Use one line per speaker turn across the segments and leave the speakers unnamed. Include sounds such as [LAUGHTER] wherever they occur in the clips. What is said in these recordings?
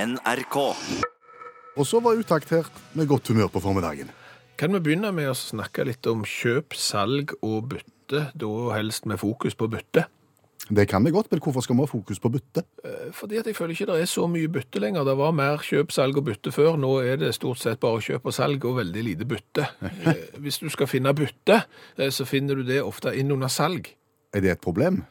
NRK.
Og så var utakt her med godt humør på formiddagen.
Kan vi begynne med å snakke litt om kjøp, salg og bytte, da helst med fokus på bytte?
Det kan vi godt, men hvorfor skal vi ha fokus på bytte?
Eh, Fordi at jeg føler ikke det er så mye bytte lenger. Det var mer kjøp, salg og bytte før. Nå er det stort sett bare kjøp og salg og veldig lite bytte. Eh, Hvis du skal finne bytte, eh, så finner du det ofte inn under salg.
Er det et problem?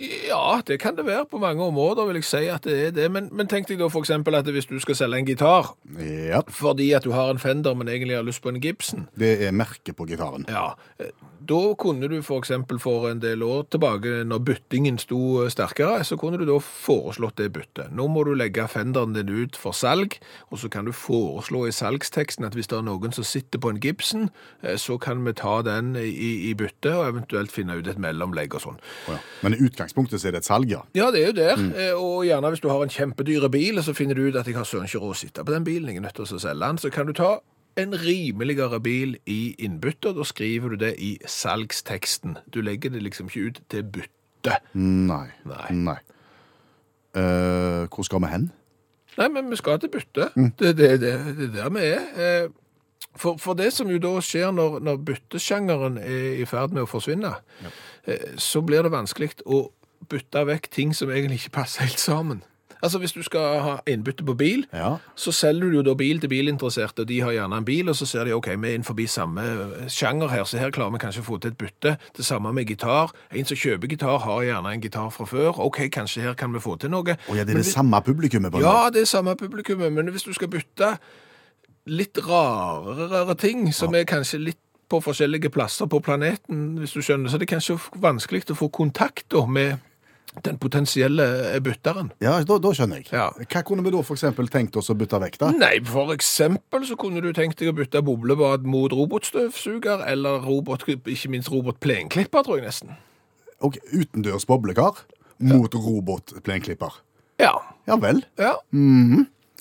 Ja, det kan det være på mange områder, vil jeg si at det er det. Men, men tenk deg da for eksempel at hvis du skal selge en gitar,
Ja,
fordi at du har en Fender, men egentlig har lyst på en Gibson,
det er merket på gitaren.
Ja, eh, Da kunne du for eksempel for en del år tilbake, når byttingen sto eh, sterkere, så kunne du da foreslått det byttet. Nå må du legge fenderen din ut for salg, og så kan du foreslå i salgsteksten at hvis det er noen som sitter på en Gibson, eh, så kan vi ta den i, i bytte, og eventuelt finne ut et mellomlegg og sånn.
Å ja. Men i utgangspunktet så er det et salg, ja.
Ja, det er jo der. Eh, Og gjerne hvis du har en kjempedyre bil, så finner du ut at jeg har søren ikke råd å sitte på den bilen, jeg er nødt til å selge den, så kan du ta en rimeligere bil i innbytte, og da skriver du det i salgsteksten. Du legger det liksom ikke ut til bytte.
Nei.
Nei.
Eh, hvor skal vi hen?
Nei, men vi skal til bytte. Det er det, det, det er der vi er. Eh, For, for det som jo da skjer når, når byttesjangeren er i ferd med å forsvinne, eh, så blir det vanskelig å bytte vekk ting som egentlig ikke passer helt sammen. Altså Hvis du skal ha innbytte på bil,
Ja.
så selger du jo da bil til bilinteresserte, og de har gjerne en bil, og så ser de ok, vi er innenfor samme eh, sjanger her, så her klarer vi kanskje å få til et bytte. Det samme med gitar. En som kjøper gitar, har gjerne en gitar fra før. Ok, kanskje her kan vi få til noe.
Å ja, det
Men
er det
hvis-
samme publikummet? på en måte.
ja, det er samme publikummet, men hvis du skal bytte litt rarere ting, som er kanskje litt på forskjellige plasser på planeten, hvis du skjønner, så er det kanskje vanskelig å få kontakt da, med den potensielle eh, bytteren.
ja da, da skjønner jeg.
Ja.
Hva kunne vi da for eksempel tenkt oss å bytte vekk, da?
[LAUGHS] Nei, for eksempel så kunne du tenkt deg å bytte boblebad mot robotstøvsuger, eller robot, ikke minst robotplenklipper, tror jeg nesten.
Ok, Utendørs boblekar mot robotplenklipper.
Ja,
Ja vel.
ja.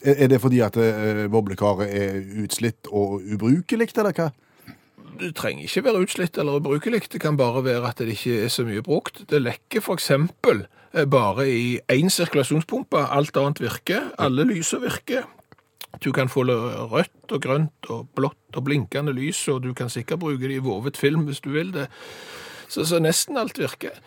Er er det fordi at eh, boblekaret er utslitt og ubrukelig, eller hva?
det trenger ikke være utslitt eller ubrukelig, det kan bare være at det ikke er så mye brukt. Det lekker for eksempel eh, bare i én sirkulasjonspumpe, alt annet virker, alle lyser virker. Du kan få lø- rødt og grønt og blått og blinkende lys, og du kan sikkert bruke det i vovet film hvis du vil det. Så, så nesten alt virker.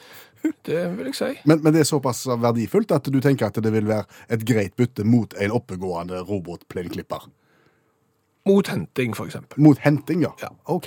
Det vil jeg si.
Men, men det er såpass verdifullt at du tenker at det vil være et greit bytte mot en oppegående robotplenklipper.
Mot henting, for eksempel.
Mot henting, ja.
Ja.
Ok.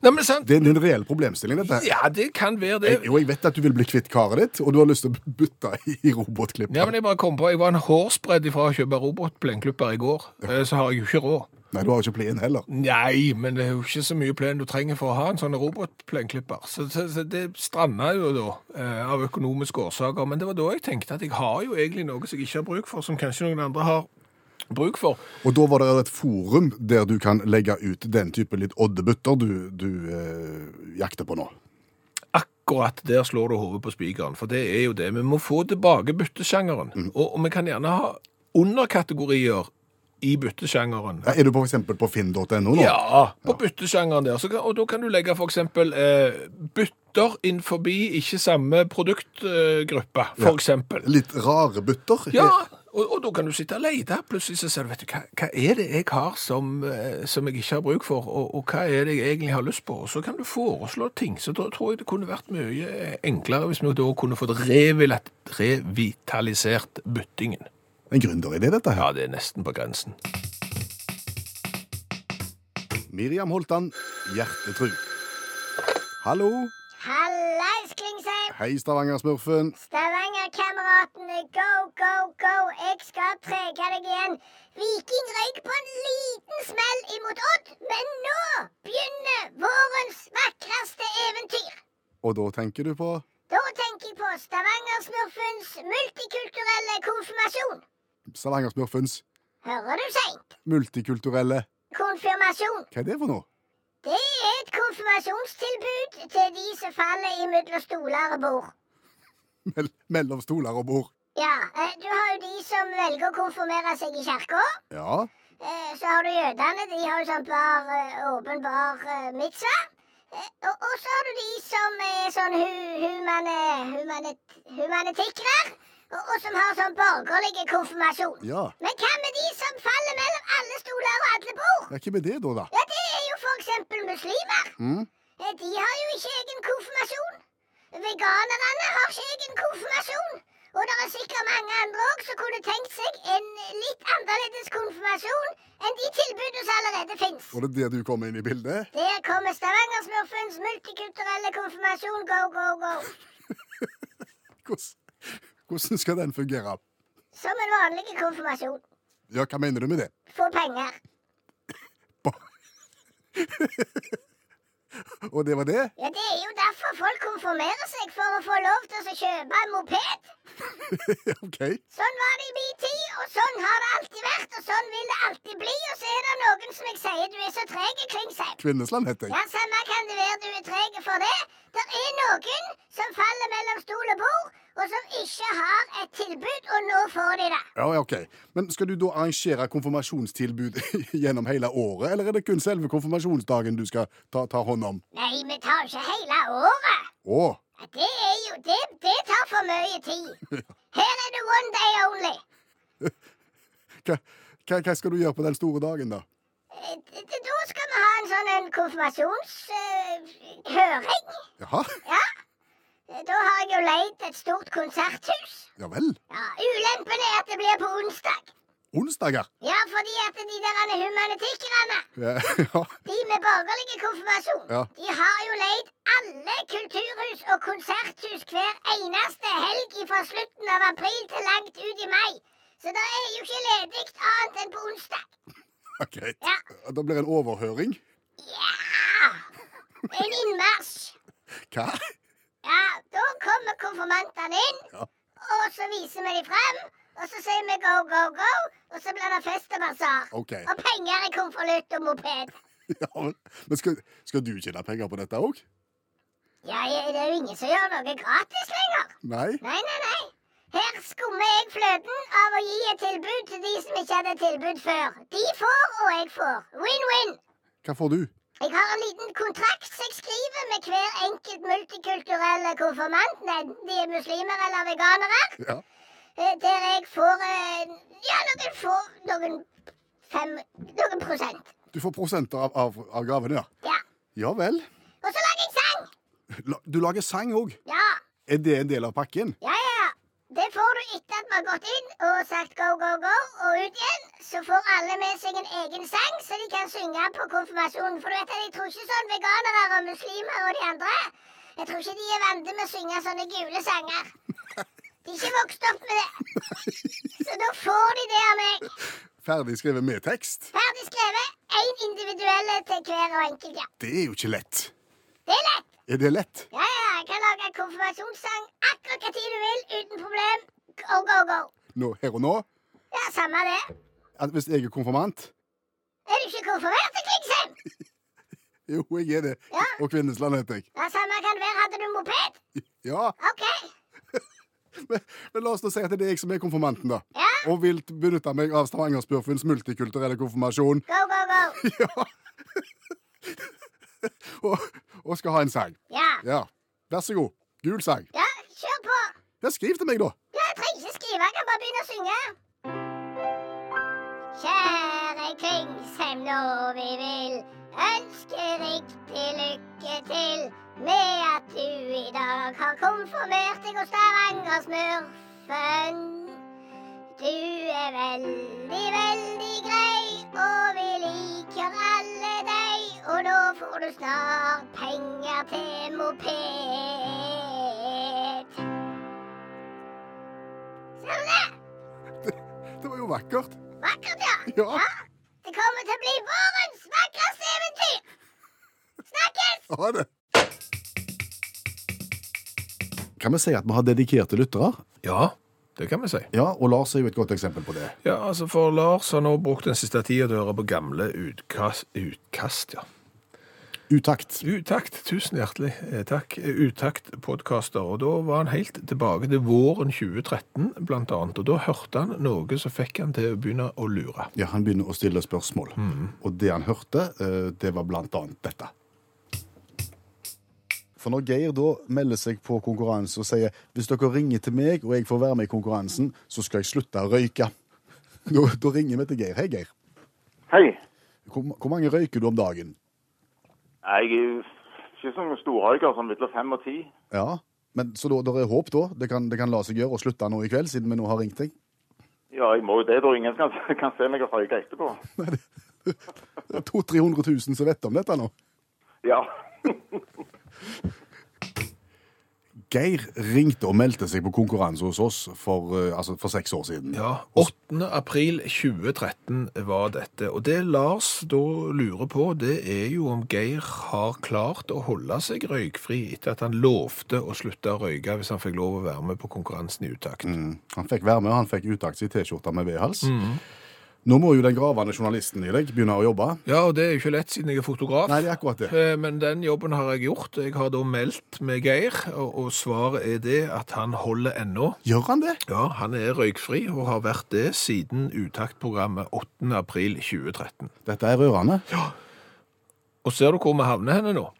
Nei, men sant?
Det er en reell problemstilling, dette. her.
Ja, det kan være det.
Jeg- Jo, jeg vet at du vil bli kvitt karet ditt, og du har lyst til å bytte i robotklipper.
Ja, men jeg bare kom på, jeg var en hårsbredd ifra å kjøpe robotplenklipper i går, eh, så har jeg jo ikke råd.
Nei, du har jo ikke plen heller.
Nei, men det er jo ikke så mye plen du trenger for å ha en sånn robotplenklipper. Så, så, så det stranda jo da, eh, av økonomiske årsaker. Men det var da jeg tenkte at jeg har jo egentlig noe som jeg ikke har bruk for, som kanskje noen andre har bruk for.
Og da var det et forum der du kan legge ut den type litt oddebytter du, du eh, jakter på nå.
Akkurat der slår du hodet på spikeren, for det er jo det. Vi må få tilbake byttesjangeren. Og, og vi kan gjerne ha underkategorier i byttesjangeren.
Ja, er du på f.eks. på finn.no nå?
Ja, på byttesjangeren der. Så kan, og da kan du legge for eksempel eh, bytter inn forbi ikke samme produktgruppe, for eksempel.
Litt rare bytter?
Ja, og, og da kan du sitte og lete. Plutselig så ser du, vet du, hva, hva er det jeg har som, eh, som jeg ikke har bruk for, og, og hva er det jeg egentlig har lyst på? Og så kan du foreslå ting. Så da tror jeg det kunne vært mye eh, enklere hvis vi da kunne fått revilat- revitalisert byttingen.
En gründeridé, dette her.
Ja, det er nesten på grensen.
Miriam Holtan, Hjertetru. Hallo.
Hallais, Klingsheim!
Hei, Stavanger-smurfen.
Stavanger-kameratene, go, go, go! Jeg skal trege deg igjen. Viking røyk på en liten smell imot Odd, men nå begynner vårens vakreste eventyr.
Og da tenker du på
Da tenker jeg på Stavanger-smurfens multikulturelle konfirmasjon.
Stavanger-smurfens
Hører du seint?
multikulturelle
Konfirmasjon.
Hva er det for noe?
Det er et konfirmasjonstilbud til de som faller imellom stoler og bord.
Mell mellom stoler og bord.
Ja, eh, du har jo de som velger å konfirmere seg i kirka.
Ja.
Eh, Så har du jødene, de har jo sånn bar, eh, åpen bar eh, mitzva. Eh, Og, og så har du de som er sånn hu, humane, humanet, humanetikkere. og, og som har sånn borgerlig konfirmasjon.
Ja.
Men hva med de som faller mellom alle stoler og alle bord?
Ja, Hva med det, da? da?
Ja, det er jo for eksempel muslimer.
Mm?
Eh, De har jo ikke egen konfirmasjon. Veganerne har ikke egen konfirmasjon. Og det er sikkert mange andre òg som kunne tenkt seg en litt annerledes konfirmasjon enn de tilbudene som allerede fins.
Var det det du kom inn i bildet?
Der kommer Stavangersmurfens multikulturelle konfirmasjon go, go, go.
Hvordan, hvordan skal den fungere?
Som en vanlig konfirmasjon.
Ja, hva mener du med det?
Få penger.
Og det var det? [LAUGHS]
Ja, det er jo derfor folk konfirmerer seg, for å få lov til å kjøpe en moped.
Ja, OK.
Sånn var det i min tid, og sånn har det alltid vært, og sånn vil det alltid bli. Og så er det noen som jeg sier du er så treg, Klingsheim.
Kvinnesland heter
Ja,
jeg.
samme kan det være du er treg for det. Det er noen som faller mellom stol og bord, og som ikke har et tilbud, og nå får de det.
Ja, ja, ok. Men skal du da arrangere konfirmasjonstilbud [LAUGHS] gjennom hele året, eller er det kun selve konfirmasjonsdagen du skal ta, ta hånd om?
Nei, vi tar jo ikke hele året.
Å,
Ja, Det er jo det, det tar for mye tid. Her er det one day only.
hva, hva, hva skal du gjøre på den store dagen, da?
Eh, d- d- Da skal vi ha en sånn en konfirmasjonshøring.
Jaha?
Ja. Eh, Da har jeg jo leid et stort konserthus.
Ja vel?
Ja, Ulempen er at det blir på onsdag.
Onsdager? [LAUGHS]
Ja, fordi at de der humanitikerne,
Ja, ja.
de med borgerlig konfirmasjon,
Ja.
de har jo leid alle kulturhus og konserthus hver eneste helg fra slutten av april til langt ut i mai. Så det er jo ikke ledig annet enn på onsdag.
ok.
Ja.
Da blir det en overhøring.
Ja! En innmarsj.
Hva?
Ja, da kommer konfirmantene inn,
Ja.
og så viser vi dem frem. Og så sier vi go, go, go, og så blir det fest og basar.
Ok.
Og penger i konvolutt og moped.
[LAUGHS] Ja, men- men skal, skal du tjene penger på dette òg?
Ja, ja, det er jo ingen som gjør noe gratis lenger.
Nei?
Nei, nei, nei. Her skummer jeg fløten av å gi et tilbud til de som ikke hadde tilbud før. De får, og jeg får. Win-win.
Hva får du?
Jeg har en liten kontrakt som jeg skriver med hver enkelt multikulturelle konfirmant, enten de er muslimer eller veganere.
Ja.
Eh, Der jeg får eh, Ja, noen får noen fem Noen prosent.
Du får prosenter av, av, av gavene, ja.
Ja.
Ja vel.
Og så lager jeg sang!
La- Du lager sang òg.
Ja.
Er det en del av pakken?
Ja, ja, ja. Det får du etter at vi har gått inn og sagt go, go, go, og ut igjen. Så får alle med seg en egen sang som de kan synge på konfirmasjonen. For du vet at jeg tror ikke sånn veganere og muslimer og de andre Jeg tror ikke de er vant med å synge sånne gule sanger. De er ikke vokst opp med det. Så da får de det av meg.
Ferdig skrevet med tekst?
Ferdig skrevet. Én individuelle til hver og enkelt, ja.
Det er jo ikke lett.
Det er lett.
Er det lett?
Ja, ja, jeg kan lage en konfirmasjonssang akkurat hva tid du vil, uten problem. Go, go, go.
Nå, her og nå?
Ja, samme det.
At hvis jeg er konfirmant?
Er du ikke konfirmert til Klingsheim?
Jo, jeg er det.
Ja.
Og Kvinnesland heter jeg.
Ja, samme kan det være. Hadde du moped?
Ja,
OK.
men, men la oss nå si at det er jeg som er konfirmanten, da.
Ja.
Og vil benytte meg av Stavangerspurfens multikulturelle konfirmasjon.
Go, go, go.
Ja. og, og skal ha en sang.
Ja.
Ja. Vær så god. Gul sang.
Ja, kjør på.
Ja, skriv til meg, da.
Ja, jeg trenger ikke skrive, jeg kan bare begynne å synge. Kjære Klingsheim, nå vi vil ønske riktig lykke til med at du i dag har konfirmert deg hos Stavangersmurfen. Du er veldig, veldig grei, og vi liker alle deg. Og nå får du snart penger til moped. Ser du det?
Det var jo vakkert.
Vakkert, ja.
Ja.
Det kommer til å bli vårens vakreste eventyr. Snakkes!
Ha det. Kan vi si at vi har dedikerte lyttere?
Ja, det kan vi si.
Ja, og Lars er jo et godt eksempel på det.
Ja, altså For Lars har nå brukt den siste tida til å høre på gamle utkast, utkast ja.
Utakt.
Utakt, tusen hjertelig eh, takk. Utakt-podkaster. Og da var han helt tilbake til våren 2013, blant annet. Og da hørte han noe som fikk han til å begynne å lure.
Ja, Han begynner å stille spørsmål. Og det han hørte, eh, det var blant annet dette. For når Geir da melder seg på konkurranse og sier hvis dere ringer til meg og jeg får være med i konkurransen, så skal jeg slutte å røyke. Da, da ringer vi til Geir. Hei, Geir.
Hei.
Hvor, hvor mange røyker du om dagen?
Jeg er jo ikke som en storrøyker, som midler fem og ti.
Ja, men Så da, der er håp, da? Det kan, det kan la seg gjøre å slutte nå i kveld, siden vi nå har ringt deg?
Ja, jeg må jo det, da ingen kan, kan se meg og røyke etterpå.
Nei, det, det er 200 000-300 000 som vet om dette nå.
Ja.
Geir ringte og meldte seg på konkurranse hos oss for, eh, altså for seks år siden.
Ja, 8. april 2013 var dette. Og det Lars da lurer på, det er jo om Geir har klart å holde seg røykfri etter at han lovte å slutte å røyke hvis han fikk lov å være med på konkurransen i utakt.
Mm. Han fikk være med, og han fikk utakt i T-skjorta med V-hals.
Mm.
Nå må jo den gravende journalisten i deg begynne å jobbe.
Ja, og det er jo ikke lett siden jeg er fotograf.
Nei, det er akkurat det.
Eh, Men den jobben har jeg gjort. Jeg har da meldt med Geir, og og svaret er det at han holder ennå.
Gjør han det?
Ja, han er røykfri og har vært det siden Utaktprogrammet 8. april 2013.
Dette er rørende.
Og ser du hvor vi havner henne nå?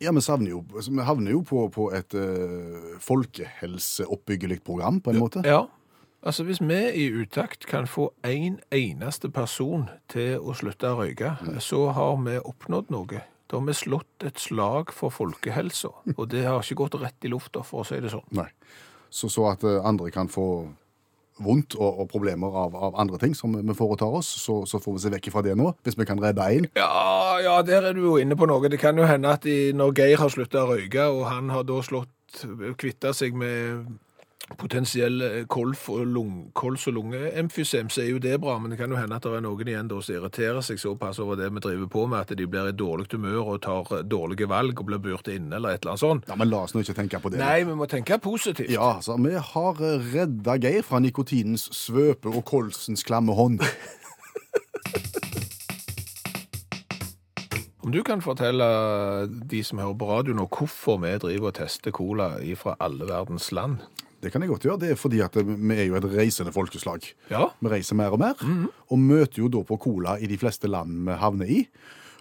Ja, vi, savner jo, vi havner jo på, på et uh, folkehelseoppbyggelig program, på en måte.
Ja. Altså, hvis vi i Utakt kan få en eneste person til å slutte å røyke, så har vi oppnådd noe. Da har vi slått et slag for folkehelsa, og det har ikke gått rett i lufta, for å si det sånn.
Nei. Så, så at eh, andre kan få vondt og, og problemer av, av andre ting som vi foretar oss, så, så får vi se vekk fra det nå, hvis vi kan redde én.
Ja, ja, der er du jo inne på noe. Det kan jo hende at i, når Geir har slutta å røyke, og han har da slått kvitta seg med potensiell eh, kolf og lung, kols- og lungeemfysem, så er jo det bra, men det kan jo hende at det er noen igjen da som irriterer seg såpass over det vi driver på med, at de blir i dårlig humør og tar dårlige valg og blir burt inne eller et eller annet sånt.
Ja, men la oss nå ikke tenke på det.
Nei, vi må tenke positivt.
Ja, altså, vi har eh, redda Geir fra nikotinens svøpe og kolsens klamme hånd.
Om du kan fortelle de som hører på radio nå, hvorfor vi driver og tester cola fra alle verdens land?
Det kan jeg godt gjøre. Det er fordi at eh, vi er jo et reisende folkeslag.
Ja.
Vi reiser mer og mer,
Mhm.
og møter jo da på cola i de fleste land vi havner i.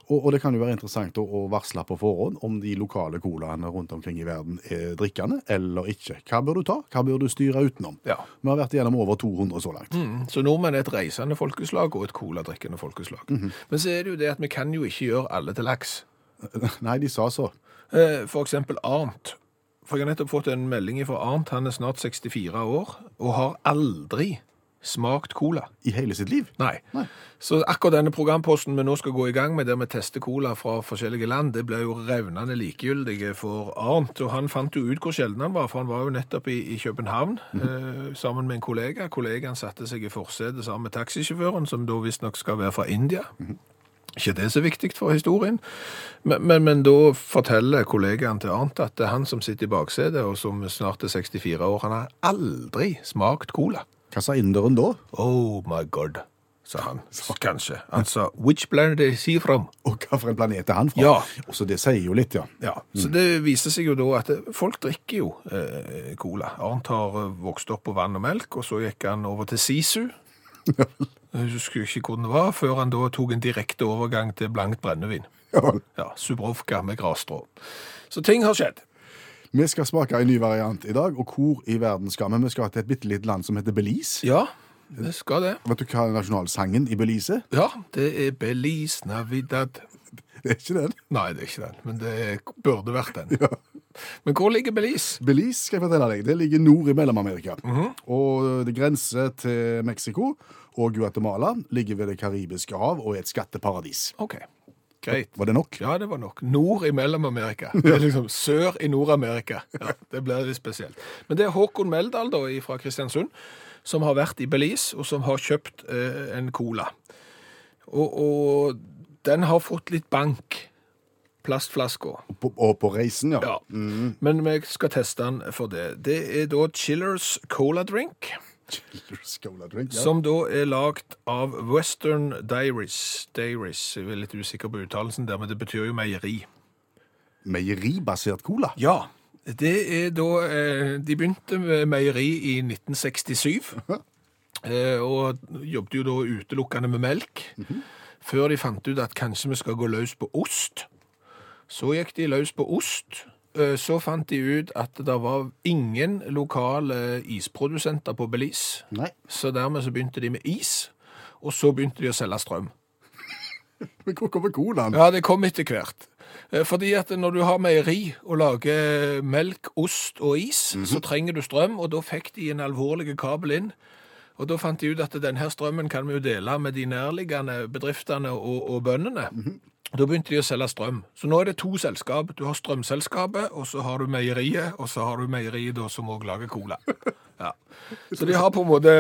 Og, og det kan jo være interessant å, å varsle på forhånd om de lokale colaene rundt omkring i verden er drikkende eller ikke. Hva bør du ta? Hva bør du styre utenom?
Ja.
Vi har vært igjennom over 200 så langt.
Mm, Så nordmenn er et reisende folkeslag og et coladrikkende folkeslag. Men så er det jo det at vi kan jo ikke gjøre alle til laks.
[LAUGHS] Nei, de sa så.
Eh, For eksempel Arnt. For jeg har nettopp fått en melding fra Arnt. Han er snart 64 år og har aldri smakt cola.
I hele sitt liv.
Nei.
Nei.
Så akkurat denne programposten vi nå skal gå i gang med, der vi tester cola fra forskjellige land, det blir jo revnende likegyldige for Arnt. Og han fant jo ut hvor sjelden han var, for han var jo nettopp i, i København eh, sammen med en kollega. Kollegaen satte seg i forsetet sammen med taxisjåføren, som da visstnok skal være fra India. Ikke det så viktig for historien, men, men, men da forteller kollegaen til Arnt at det er han som sitter i baksetet, og som snart er 64 år, han har aldri smakt cola.
Hva sa inderen da?
Oh my god, sa [LAUGHS] han. Kanskje. Han sa Which planet is he from?
Og hva for en planet er han fra?
Ja.
Og så det sier jo litt, ja.
Ja, Så det viser seg jo da at eh, folk drikker jo eh, cola. Arnt har eh, vokst opp på vann og melk, og så gikk han over til [LAUGHS] Sisu. Jeg husker ikke hvor den var, før han da tok en direkte overgang til blankt brennevin.
ja. vel.
Ja, Subrovka med grasstrå. Så ting har skjedd.
Vi skal smake en ny variant i dag, og hvor i verden skal vi? Vi skal til et bitte lite land som heter Belize.
Ja, det skal det.
Vet du hva er nasjonalsangen i Belize? [LAUGHS]
Ja, det er Belize Navidad.
Det er ikke den.
Nei, det er ikke den, men det burde vært den. [LAUGHS] Men hvor ligger Belize?
Belize skal jeg fortelle deg, det ligger nord i Mellom-Amerika.
Mhm.
Og det grenser til Mexico, og Guatemala ligger ved Det karibiske hav og er et skatteparadis.
Ok, greit.
Var det nok?
Ja, det var nok. Nord i Mellom-Amerika. Det er liksom sør i Nord-Amerika. Ja, det blir litt spesielt. Men det er Håkon Meldal da, fra Kristiansund som har vært i Belize, og som har kjøpt eh, en cola. Og, og den har fått litt bank. Plastflasker.
På, og på reisen, ja.
Ja. Men vi skal teste den for det. Det er da Chillers Cola Drink.
Chillers Cola Drink. Ja.
Som da er lagd av Western Dairies. Dairies, jeg er litt usikker på uttalelsen der, men det betyr jo meieri.
Meieribasert cola.
Ja, det er da eh, De begynte med meieri i 1967, eh, og jobbet jo da utelukkende med melk. Før de fant ut at kanskje vi skal gå løs på ost. Så gikk de løs på ost, Eh, Så fant de ut at det var ingen lokale isprodusenter på Belize.
Nei. [LAUGHS]
Så dermed så begynte de med is, og så begynte de å selge strøm.
Men hvor kommer colaen?
Ja, det kom etter hvert. Eh, Fordi at når du har meieri og lager melk, ost og is, så trenger du strøm, og da fikk de en alvorlig kabel inn. Og da fant de ut at denne strømmen kan vi jo dele med de nærliggende bedriftene og, og bøndene. Da begynte de å selge strøm. Så nå er det to selskap. Du har strømselskapet, og så har du meieriet, og så har du meieriet da, som òg lager cola. Ja. Så de har på en måte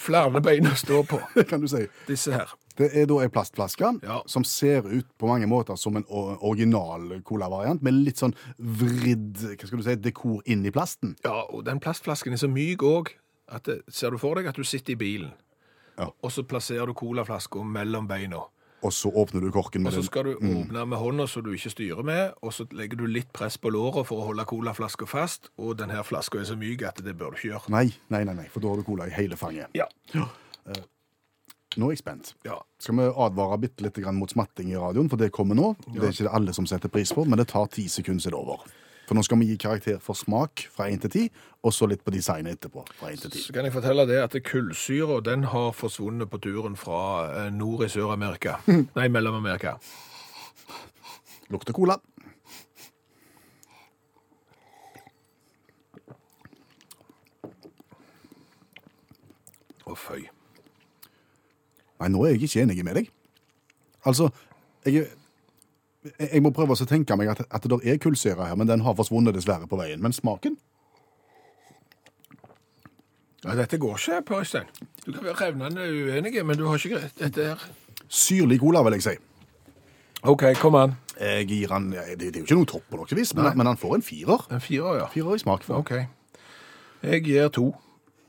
flere bein å stå på,
Det kan du si.
disse her.
Det er da ei plastflaske
Ja.
som ser ut på mange måter som en o- original colavariant, med litt sånn vridd hva skal du si, dekor inn i plasten.
Ja, og den plastflasken er så myk òg at det, ser du for deg at du sitter i bilen,
Ja.
og så plasserer du colaflaska mellom beina.
Og så åpner du korken
Og
med
så
den.
skal du åpne med hånda så du ikke styrer med, og så legger du litt press på låret for å holde colaflaska fast, og denne flaska er så myk at det bør du ikke gjøre.
Nei, nei, nei, nei, for da har du cola i hele fanget.
Ja.
Nå er jeg spent.
ja.
Skal vi advare bitte litt grann mot smatting i radioen, for det kommer nå. Det er ikke det alle som setter pris på, men det tar ti sekunder, så er det over. For nå skal vi gi karakter for smak fra 1 til 10, og så litt på designet etterpå. fra 1 til 10.
Så kan jeg fortelle det at kullsyra den har forsvunnet på turen fra eh, nord i Sør-Amerika. Nei, Mellom-Amerika.
Lukter cola.
Å, føy.
Nei, nå er jeg ikke enig med deg. Altså, jeg, jeg- jeg må prøve å tenke meg at, at det er kullsyre her, men den har forsvunnet dessverre på veien. Men smaken?
Ja, dette går ikke, Per Øystein. Du kan være revnende uenig, men du har ikke greit. Dette her
Syrlig cola, vil jeg si.
OK, kom an.
Jeg gir han, det, det er jo ikke noe topp på noe vis, men, men han får en firer.
En firer, ja.
Firer i smak. For.
OK. Jeg gir to.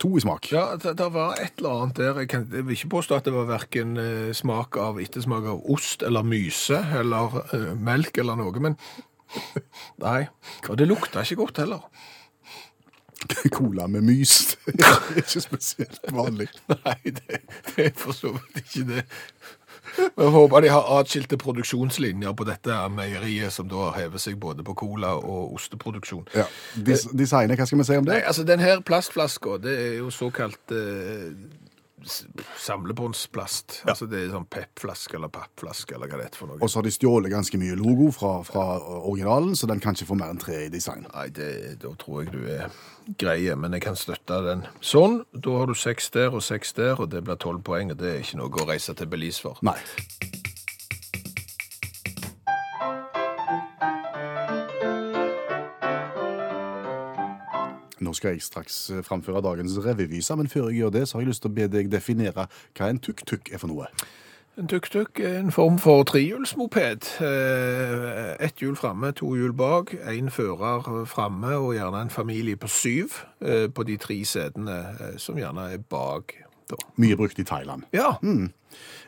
To i smak.
Ja, det, det var et eller annet der. Jeg, kan, jeg vil ikke påstå at det var verken eh, smak av ettersmak av ost eller myse eller eh, melk eller noe, men [LAUGHS] Nei. Og det lukta ikke godt heller.
[LAUGHS] Cola med mys. [LAUGHS] Det er ikke spesielt vanlig.
[LAUGHS] Nei, det, det er for så vidt ikke det. Men jeg håper de har atskilte produksjonslinjer på dette meieriet, som da hever seg både på cola og osteproduksjon.
Ja. Des, designet, hva skal vi si om
Nei,
det?
altså den her plastflaska, det er jo såkalt eh, s- samlebåndsplast. Altså det er sånn peppflaske eller pappflaske eller hva det er for noe.
Og så har de stjålet ganske mye logo fra, fra originalen, så den kan ikke få mer enn tre i design.
Nei, det, da tror jeg du er greie, men jeg kan støtte den. Sånn, da har du seks der og seks der, og det blir tolv poeng, og det er ikke noe å reise til Belize for.
Nei. Nå skal jeg straks eh, framføre dagens revyvise, men før jeg gjør det, så har jeg lyst til å be deg definere hva en tuk-tuk er for noe.
En tuk-tuk er en form for trehjulsmoped. Eh, Ett hjul framme, to hjul bak, én fører framme og gjerne en familie på syv eh, på de tre setene eh, som gjerne er bak. Da.
Mye brukt i Thailand.
Ja,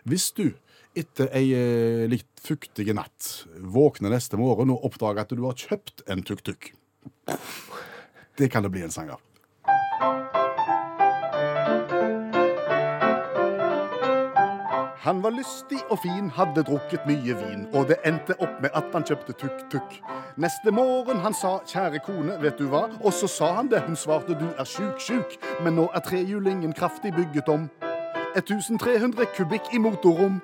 Hvis du etter ei eh, litt fuktige natt våkner neste morgen og oppdager at du har kjøpt en tuk-tuk Det kan det bli en sang av. Han var lystig og fin, hadde drukket mye vin, og det endte opp med at han kjøpte tuk-tuk. Neste morgen han sa 'kjære kone, vet du hva', og så sa han det. Hun svarte 'du er sjuk, sjuk', men nå er trehjulingen kraftig bygget om. 1300 kubikk i motorrom.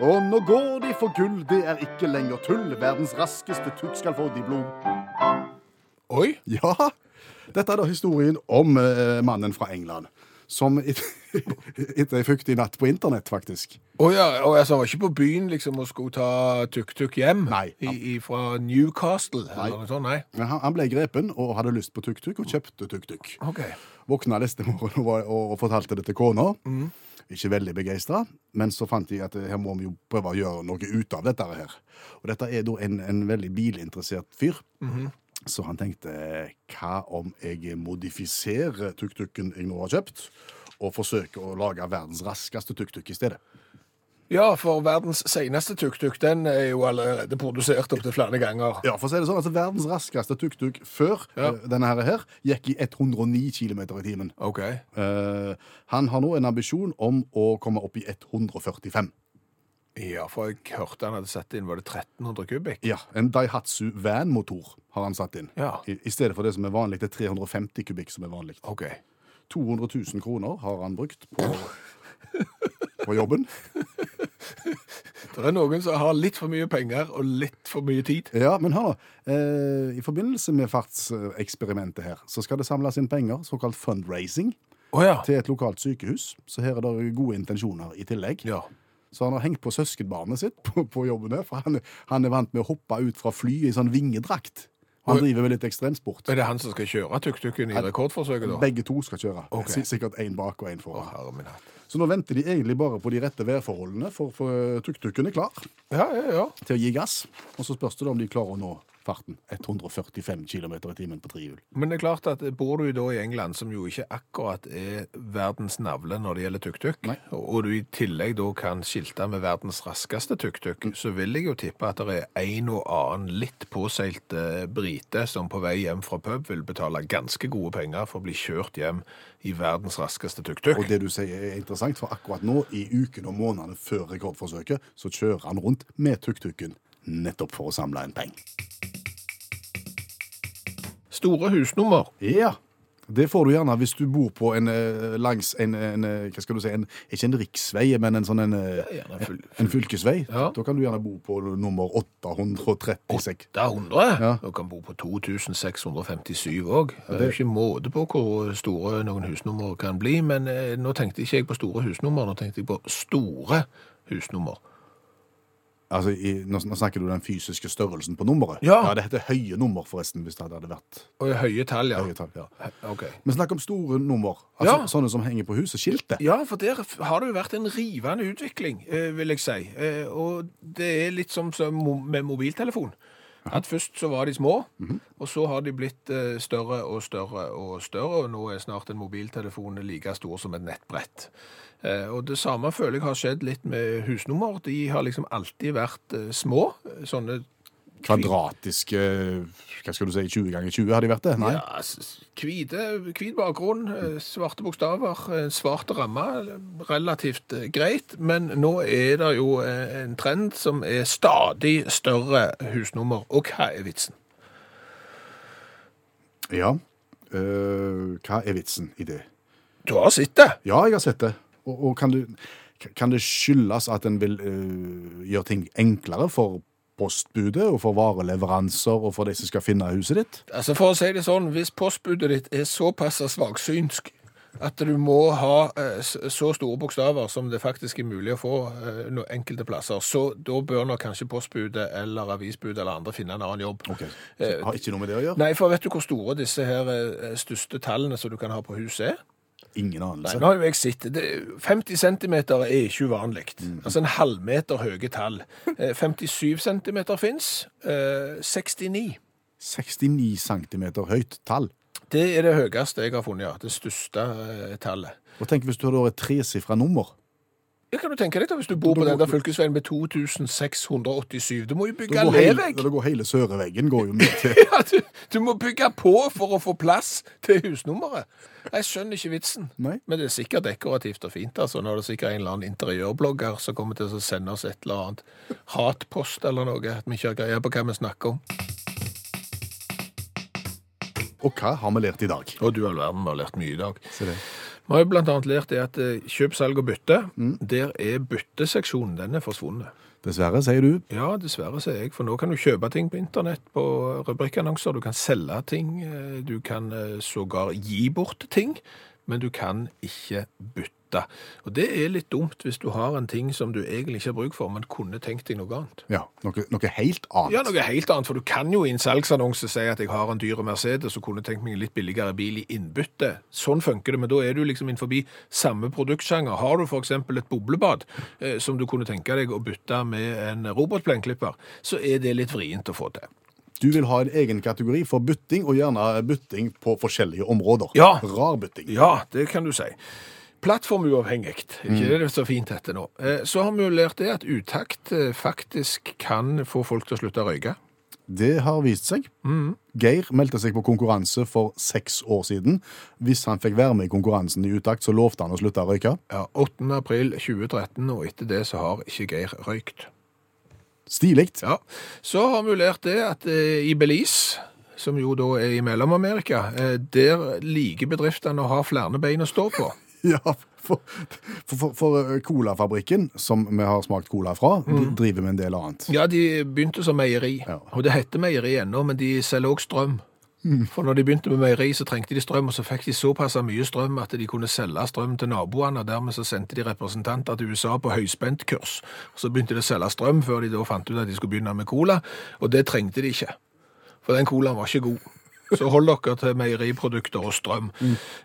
Og nå går de for gull, det er ikke lenger tull. Verdens raskeste tukk skal få de blod.
oi.
Ja, dette er da historien om eh, mannen fra England. Som [LAUGHS] et- etter ei fuktig natt på internett, faktisk.
Å ja, og altså, han var ikke på byen liksom og skulle ta tuk-tuk hjem
Nei.
i, i, fra Newcastle eller noe sånt? Nei.
Men han, han ble grepen og hadde lyst på tuk-tuk, og kjøpte tuk-tuk.
Ok.
Våkna neste morgen og, var, og, og fortalte det til kona. Ikke veldig begeistra, men så fant de at eh, her må vi jo prøve å gjøre noe ut av dette her. Og dette er da en, en veldig bilinteressert fyr. Så han tenkte hva om jeg modifiserer tuk-tuken jeg nå har kjøpt, og forsøker å lage verdens raskeste tuk-tuk i stedet.
Ja, for verdens seneste tuk-tuk, den er jo allerede produsert opptil flere ganger.
Ja, for å si det sånn, altså Verdens raskeste tuk-tuk før
Ja.
eh, denne her, her gikk i 109 km i timen.
Ok.
Eh, han har nå en ambisjon om å komme opp i 145.
Ja, for jeg hørte han hadde satt inn, var det 1300 kubikk?
Ja, En Daihatsu van-motor har han satt inn.
Ja.
I, I stedet for det som er vanlig, det er 350 kubikk som er vanlig.
Ok.
200 000 kroner har han brukt
[LAUGHS]
på, på jobben.
Det er noen som har litt for mye penger og litt for mye tid.
Ja, men hør nå. Eh, I forbindelse med fartseksperimentet her, så skal det samles inn penger, såkalt fundraising,
Å ja.
til et lokalt sykehus. Så her er det gode intensjoner i tillegg.
Ja.
Så han har hengt på søskenbarnet sitt på, på jobben her, for han, er- han er vant med å hoppe ut fra fly i sånn vingedrakt. Han
Oi.
driver med litt ekstremsport.
Er det han som skal kjøre tuk-tuken i rekordforsøket da?
Begge to skal kjøre.
Ok.
Sik- Sikkert én bak og én
Å,
foran.
herre min hatt.
Så nå venter de egentlig bare på de rette værforholdene, for, for tuk-tuken er klar.
Ja, ja, ja.
til å gi gass. Og så spørs det da om de klarer å nå farten. 145 km i timen på trehjul.
Men det er klart at eh, bor du da i England, som jo ikke akkurat er verdens navle når det gjelder tuk-tuk,
Nei.
og du i tillegg da kan skilte med verdens raskeste tuk-tuk,
Mm.
så vil jeg jo tippe at det er en og annen litt påseilt eh, brite som på vei hjem fra pub vil betale ganske gode penger for å bli kjørt hjem i verdens raskeste
Og
tuk-tuk.
det du sier er interessant, for akkurat nå, i uken og månedene før rekordforsøket, så kjører han rundt med tuk-tuken nettopp for å samle inn penger.
Store husnummer.
Ja. Det får du gjerne hvis du bor på en eh, langs en, en eh, Hva skal du si en, Ikke en riksvei, men en sånn en, eh,
gjerne en full-
en fylkesvei.
Ja.
Da kan du gjerne bo på nummer 836.
Det er 100.
Ja.
Du kan bo på 2657 òg. Det er jo ikke måte på hvor store noen husnummer kan bli, men eh, nå tenkte ikke jeg på store husnummer, nå tenkte jeg på store husnummer.
Altså, i, nå, nå snakker du den fysiske størrelsen på nummeret.
Ja.
det heter høye nummer, forresten, hvis det hadde vært
Og i høye tall, ja.
høye tall. Ja.
Ok.
Men snakk om store nummer. Altså,
Ja.
Sånne som henger på huset. Skiltet.
Ja, for der f- har det jo vært en rivende utvikling, eh, vil jeg si. Eh, Og det er litt som som mo- med mobiltelefon. At først så var de små, og så har de blitt eh, større og større og større, og nå er snart en mobiltelefon like stor som et nettbrett. Eh, Og det samme føler jeg har skjedd litt med husnummer. De har liksom alltid vært eh, små, eh, sånne
Kvadratiske Hva skal du si, 20 ganger 20 har de vært det? Nei.
Ja, s- s- hvite, hvit bakgrunn, eh, svarte bokstaver, eh, svarte rammer. Relativt eh, greit, men nå er det jo eh, en trend som er stadig større husnummer. Og hva er vitsen?
Ja. Eh, hva er vitsen i det?
Du har sett det.
Ja, jeg har sett det. Og, og kan, du, kan det skyldes at en vil eh, gjøre ting enklere for postbudet og for vareleveranser og for de som skal finne huset ditt?
Altså For å si det sånn, hvis postbudet ditt er såpass svaksynsk at du må ha eh, s- så store bokstaver som det faktisk er mulig å få eh, no- enkelte plasser, så da bør nok kanskje postbudet eller avisbudet eller andre finne en annen jobb.
Ok, så
Eh,
Har ikke noe med det å gjøre?
Nei, for vet du hvor store disse her eh, største tallene som du kan ha på huset er?
Ingen
Nei,
anelse.
nå har jo jeg sett det. 50 cm er ikke uvanlig. Altså en halvmeter høye tall. Eh, 57 cm fins. eh, 69.
69 cm høyt tall.
Det er det høyeste jeg har funnet, ja. Det største eh, tallet.
Og tenk hvis du hadde vært et tresifra nummer.
Ja, kan du tenke deg da, Hvis du bor på
Da-
den der fylkesveien med 2687 Du må jo
Da
bygge
går hele,
levegg!
da går hele søreveggen går jo med til
[LAUGHS] Ja, du, du må bygge på for å få plass til husnummeret. Jeg skjønner ikke vitsen.
Nei.
Men det er sikkert dekorativt og fint. altså. Nå er det sikkert en eller annen interiørblogger som kommer til å sende oss et eller annet hatpost eller noe. At vi ikke har greie på hva vi snakker om.
Og hva har vi lært i dag?
Og du all verden, vi har lært mye i dag.
Se det.
Vi har jo blant annet lært det at eh, kjøp, salg og bytte, der er bytteseksjonen den er forsvunnet.
Dessverre, sier du.
Ja, dessverre, sier jeg. For nå kan du kjøpe ting på internett, på rubrikkannonser. Du kan selge ting. eh, Du kan eh, sågar gi bort ting. Men du kan ikke bytte. Og det er litt dumt hvis du har en ting som du egentlig ikke har bruk for, men kunne tenkt deg noe annet.
Ja, noe, noe helt annet.
Ja, noe helt annet, for du kan jo i en salgsannonse si at jeg har en dyre Mercedes og kunne tenkt meg en litt billigere bil i innbytte. Sånn funker det, men da er du liksom innenfor samme produktsjanger. Har du f.eks. et boblebad eh, som du kunne tenke deg å bytte med en robotplenklipper, så er det litt vrient å få til.
Du vil ha en egen kategori for bytting, og gjerne bytting på forskjellige områder.
Ja.
Rar bytting.
Ja, det kan du si. Plattformuavhengig, ikke det det er så fint heter nå. Eh, Så har vi jo lært det at utakt eh, faktisk kan få folk til å slutte å røyke.
Det har vist seg.
Mm.
Geir meldte seg på konkurranse for seks år siden. Hvis han fikk være med i konkurransen i utakt, så lovte han å slutte å røyke.
Ja, 8. april 2013, og etter det så har ikke Geir røykt.
Stilig.
Ja, Så har vi jo lært det at eh, i Belize, som jo da er i Mellom-Amerika, eh, der liker bedriftene å ha flere bein å stå på.
[LAUGHS] Ja, for, for, for, for colafabrikken, som vi har smakt cola fra,
Mm.
de driver med en del annet.
Ja, de begynte som meieri,
Ja.
og det heter meieri ennå, men de selger òg strøm. For når de begynte med meieri, så trengte de strøm, og så fikk de såpass mye strøm at de kunne selge strøm til naboene, og dermed så sendte de representanter til USA på høyspentkurs. Så begynte de å selge strøm før de da fant ut at de skulle begynne med cola, og det trengte de ikke. For den colaen var ikke god. Så hold dere til meieriprodukter og strøm.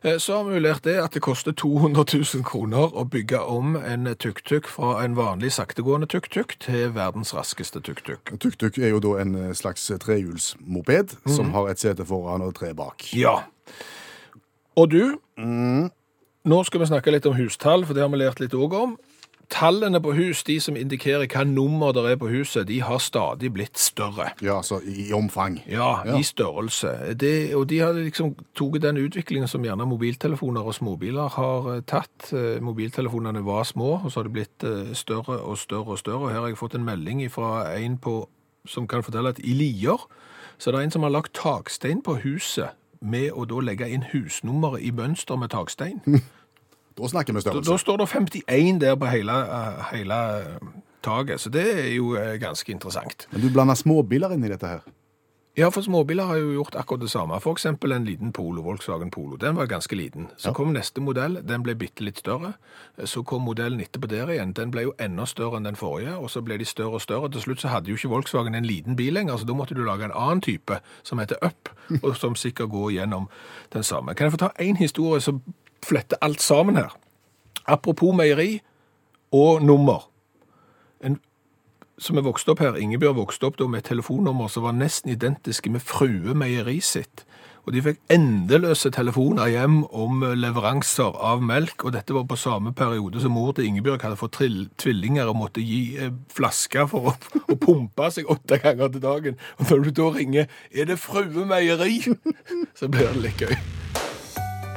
Eh, Så har vi jo lært det at det koster 200 000 kroner å bygge om en tuk-tuk fra en vanlig saktegående tuk-tuk til verdens raskeste tuk-tuk.
Tuk-tuk er jo da en eh, slags trehjulsmoped som har et sete foran og tre bak.
Mm. Ja. Og du, nå skal vi snakke litt om hustall, for det har vi lært litt òg om. Tallene på hus, de som indikerer hva nummer det er på huset, de har stadig blitt større.
Ja, altså i, i omfang.
Ja,
Ja.
i størrelse. Det, og de har liksom tatt den utviklingen som gjerne mobiltelefoner og småbiler har eh, tatt. Eh, Mobiltelefonene var små, og så har de blitt eh, større og større og større. Og her har jeg fått en melding fra en på, som kan fortelle at i Lier så er det en som har lagt takstein på huset med å da legge inn husnummeret i mønster med takstein.
Da snakker vi
Da,
størrelse.
da står det 51 der på hele, eh, hele eh, taket, så det er jo eh, ganske interessant.
Men du blander småbiler inn i dette her.
Ja, for småbiler har jo gjort akkurat det samme. For eksempel en liten Polo, Volkswagen Polo. Den var ganske liten. Så kom neste modell, den ble bitte litt større. Så kom modellen etterpå der igjen. Den ble jo enda større enn den forrige, og så ble de større og større. Til slutt så hadde jo ikke Volkswagen en liten bil lenger, så da måtte du lage en annen type som heter Up, og som sikkert går gjennom den samme. Kan jeg få ta én historie som fletter alt sammen her? Apropos meieri og nummer som er vokst opp her, Ingebjørg vokste opp da med et telefonnummer som var nesten identiske med Frue Meieri sitt. Og de fikk endeløse telefoner hjem om eh, leveranser av melk, og dette var på samme periode som mor til Ingebjørg hadde fått trill, tvillinger og måtte gi eh, flasker for å, å pumpe seg åtte ganger til dagen. Og når du da ringer 'Er det Frue Meieri?', [LAUGHS] så blir det litt gøy.